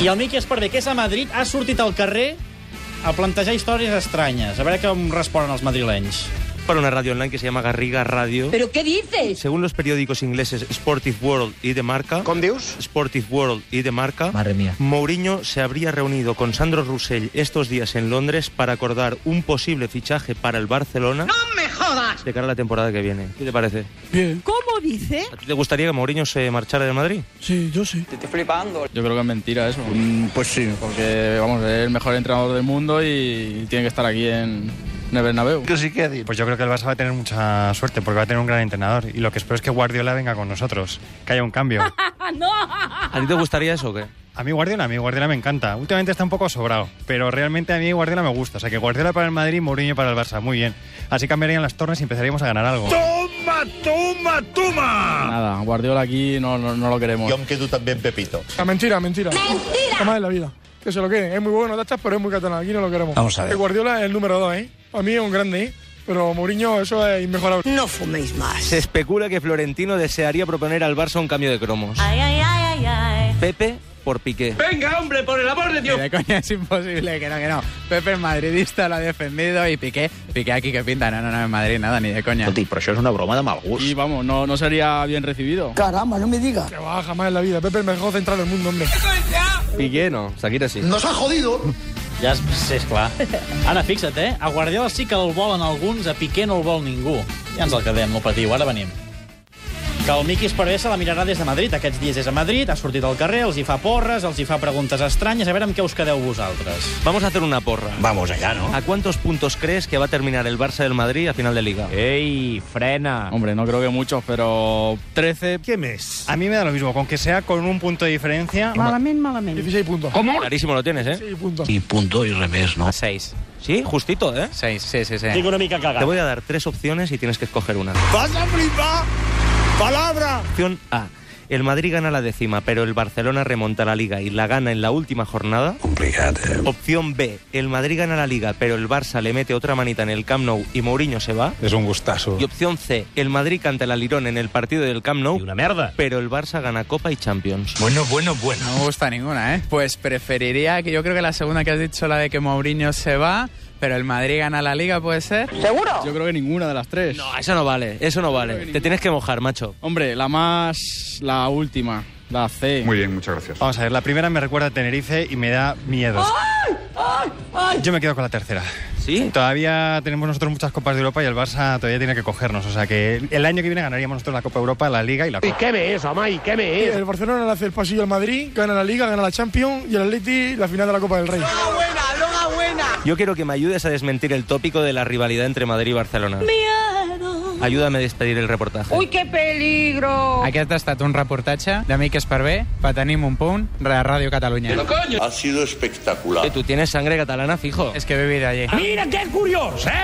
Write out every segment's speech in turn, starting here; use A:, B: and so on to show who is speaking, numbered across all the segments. A: I el Miqui Esparvé, que és a Madrid, ha sortit al carrer a plantejar històries estranyes. A veure com responen els madrilenys.
B: Por una radio online que se llama Garriga Radio.
C: ¿Pero qué dices?
B: Según los periódicos ingleses Sportive World y de Marca,
D: Com dius?
B: Sportive World y de Marca,
E: Madre mía.
B: Mourinho se habría reunido con Sandro Roussel estos días en Londres para acordar un posible fichaje para el Barcelona. ¡No me jodas! De cara a la temporada que viene. ¿Qué te parece?
C: ¿Cómo dice?
B: ¿A ti te gustaría que Mourinho se marchara de Madrid?
F: Sí, yo sí.
G: Yo creo que es mentira eso. pues sí. Porque, vamos, es el mejor entrenador del mundo y tiene que estar aquí en, en el Bernabéu.
D: Que sí que ha dit.
H: Pues yo creo que el Barça va a tener mucha suerte porque va a tener un gran entrenador. Y lo que espero es que Guardiola venga con nosotros, que haya un cambio.
B: ¿A ti te gustaría eso o qué?
H: A mí Guardiola, a mí Guardiola me encanta. Últimamente está un poco sobrado, pero realmente a mí Guardiola me gusta. O sea que Guardiola para el Madrid y Mourinho para el Barça. Muy bien. Así cambiarían las tornas y empezaríamos a ganar algo.
G: Nada, Guardiola aquí no, no, no lo queremos.
I: Jo em quedo també amb Pepito.
F: La Ah, mentira, mentira. ¡Mentira! Jamás en la vida. Que se lo quede. Es muy bueno, Tachas, pero es muy catalán. Aquí no lo queremos.
E: Vamos a ver.
F: El Guardiola es el número dos, ¿eh? A mí es un grande, ¿eh? Pero Mourinho, eso es inmejorable.
C: No fuméis más.
B: Se especula que Florentino desearía proponer al Barça un cambio de cromos.
C: Ay, ay, ay, ay, ay.
B: Pepe por Piqué.
G: Ni de coña es imposible, que no, que no. Pepe es madridista, lo ha defendido y Piqué, Piqué aquí que pinta, no, no, no, en Madrid nada, ni de coña.
I: Escolti, però això és una broma de mal
G: Y
I: gust.
G: vamos, no, no sería bien recibido.
F: Caramba, no me digas. Que va, jamás en la vida. Pepe, el mejor central del mundo, hombre.
B: Piqué no, Shakira sí.
D: Nos ha jodido.
A: Ja és, sí, és clar. Ara, fixa't, eh? A Guardiola sí que el volen alguns, a Piqué no el vol ningú. Ja ens el quedem, no patiu, ara venim. Que el Miqui Esparvé se la mirarà des de Madrid. Aquests dies és a Madrid, ha sortit al carrer, els hi fa porres, els hi fa preguntes estranyes. A veure amb què us quedeu vosaltres.
B: Vamos a hacer una porra.
I: Vamos allá, ¿no?
B: ¿A cuántos puntos crees que va a terminar el Barça del Madrid a final de liga?
I: Eh,
E: ¡Ey, frena!
G: Hombre, no creo que muchos, pero 13.
F: ¿Qué mes?
H: A mí me da lo mismo, con que sea con un punto de diferencia.
F: 16 puntos.
B: Clarísimo lo tienes, ¿eh?
F: 16 puntos.
I: I punto i res més, no?
E: 6.
B: Sí, justito, ¿eh?
E: 6, sí, sí, sí.
A: Tinc una mica
B: Te
A: cagat.
B: voy a dar tres opciones y tienes que escoger una.
D: Vas a flipar. Palabra.
B: Opción A. El Madrid gana la décima, pero el Barcelona remonta la liga y la gana en la última jornada.
I: Complicat, eh?
B: Opción B. El Madrid gana la liga, pero el Barça le mete otra manita en el Camp Nou y Mourinho se va.
H: Es un gustazo.
B: Y opción C. El Madrid canta el alirón en el partido del Camp Nou,
A: Una merda.
B: pero el Barça gana Copa y Champions.
I: Bueno, bueno, bueno.
G: No me gusta ninguna, ¿eh? Pues preferiría que yo creo que la segunda que has dicho, la de que Mourinho se va, pero el Madrid gana la liga, ¿puede ser? ¿Seguro? Yo creo que ninguna de las tres.
B: No, eso no vale, eso no vale. Te tienes que mojar, macho.
G: Hombre, la más. la última, la C.
J: Muy bien, muchas gracias.
H: Vamos a ver, la primera me recuerda a Tenerife y me da miedo. Yo me quedo con la tercera.
B: ¿Sí?
H: Todavía tenemos nosotros muchas Copas de Europa y el Barça todavía tiene que cogernos. O sea que el año que viene ganaríamos nosotros la Copa Europa, la Liga y la Copa.
F: El Barcelona le hace el pasillo al Madrid, gana la Liga, gana la Champions y el Atleti la final de la Copa del Rey.
B: Yo quiero que me ayudes a desmentir el tópico de la rivalidad entre Madrid y Barcelona. Ayúdame a despedir el reportaje.
C: ¡Uy, qué peligro!
G: Aquest ha estat un reportatge d'Amic Esparvé per Tenim un punt de Ràdio Catalunya.
I: Ha sido espectacular.
B: Eh, Tú tienes sangre catalana, fijo.
G: És que he vivit allí.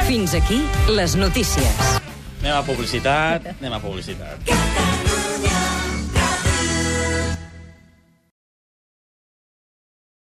C: Fins aquí les notícies.
A: Anem a publicitat, anem a publicitat.
K: Catalunya.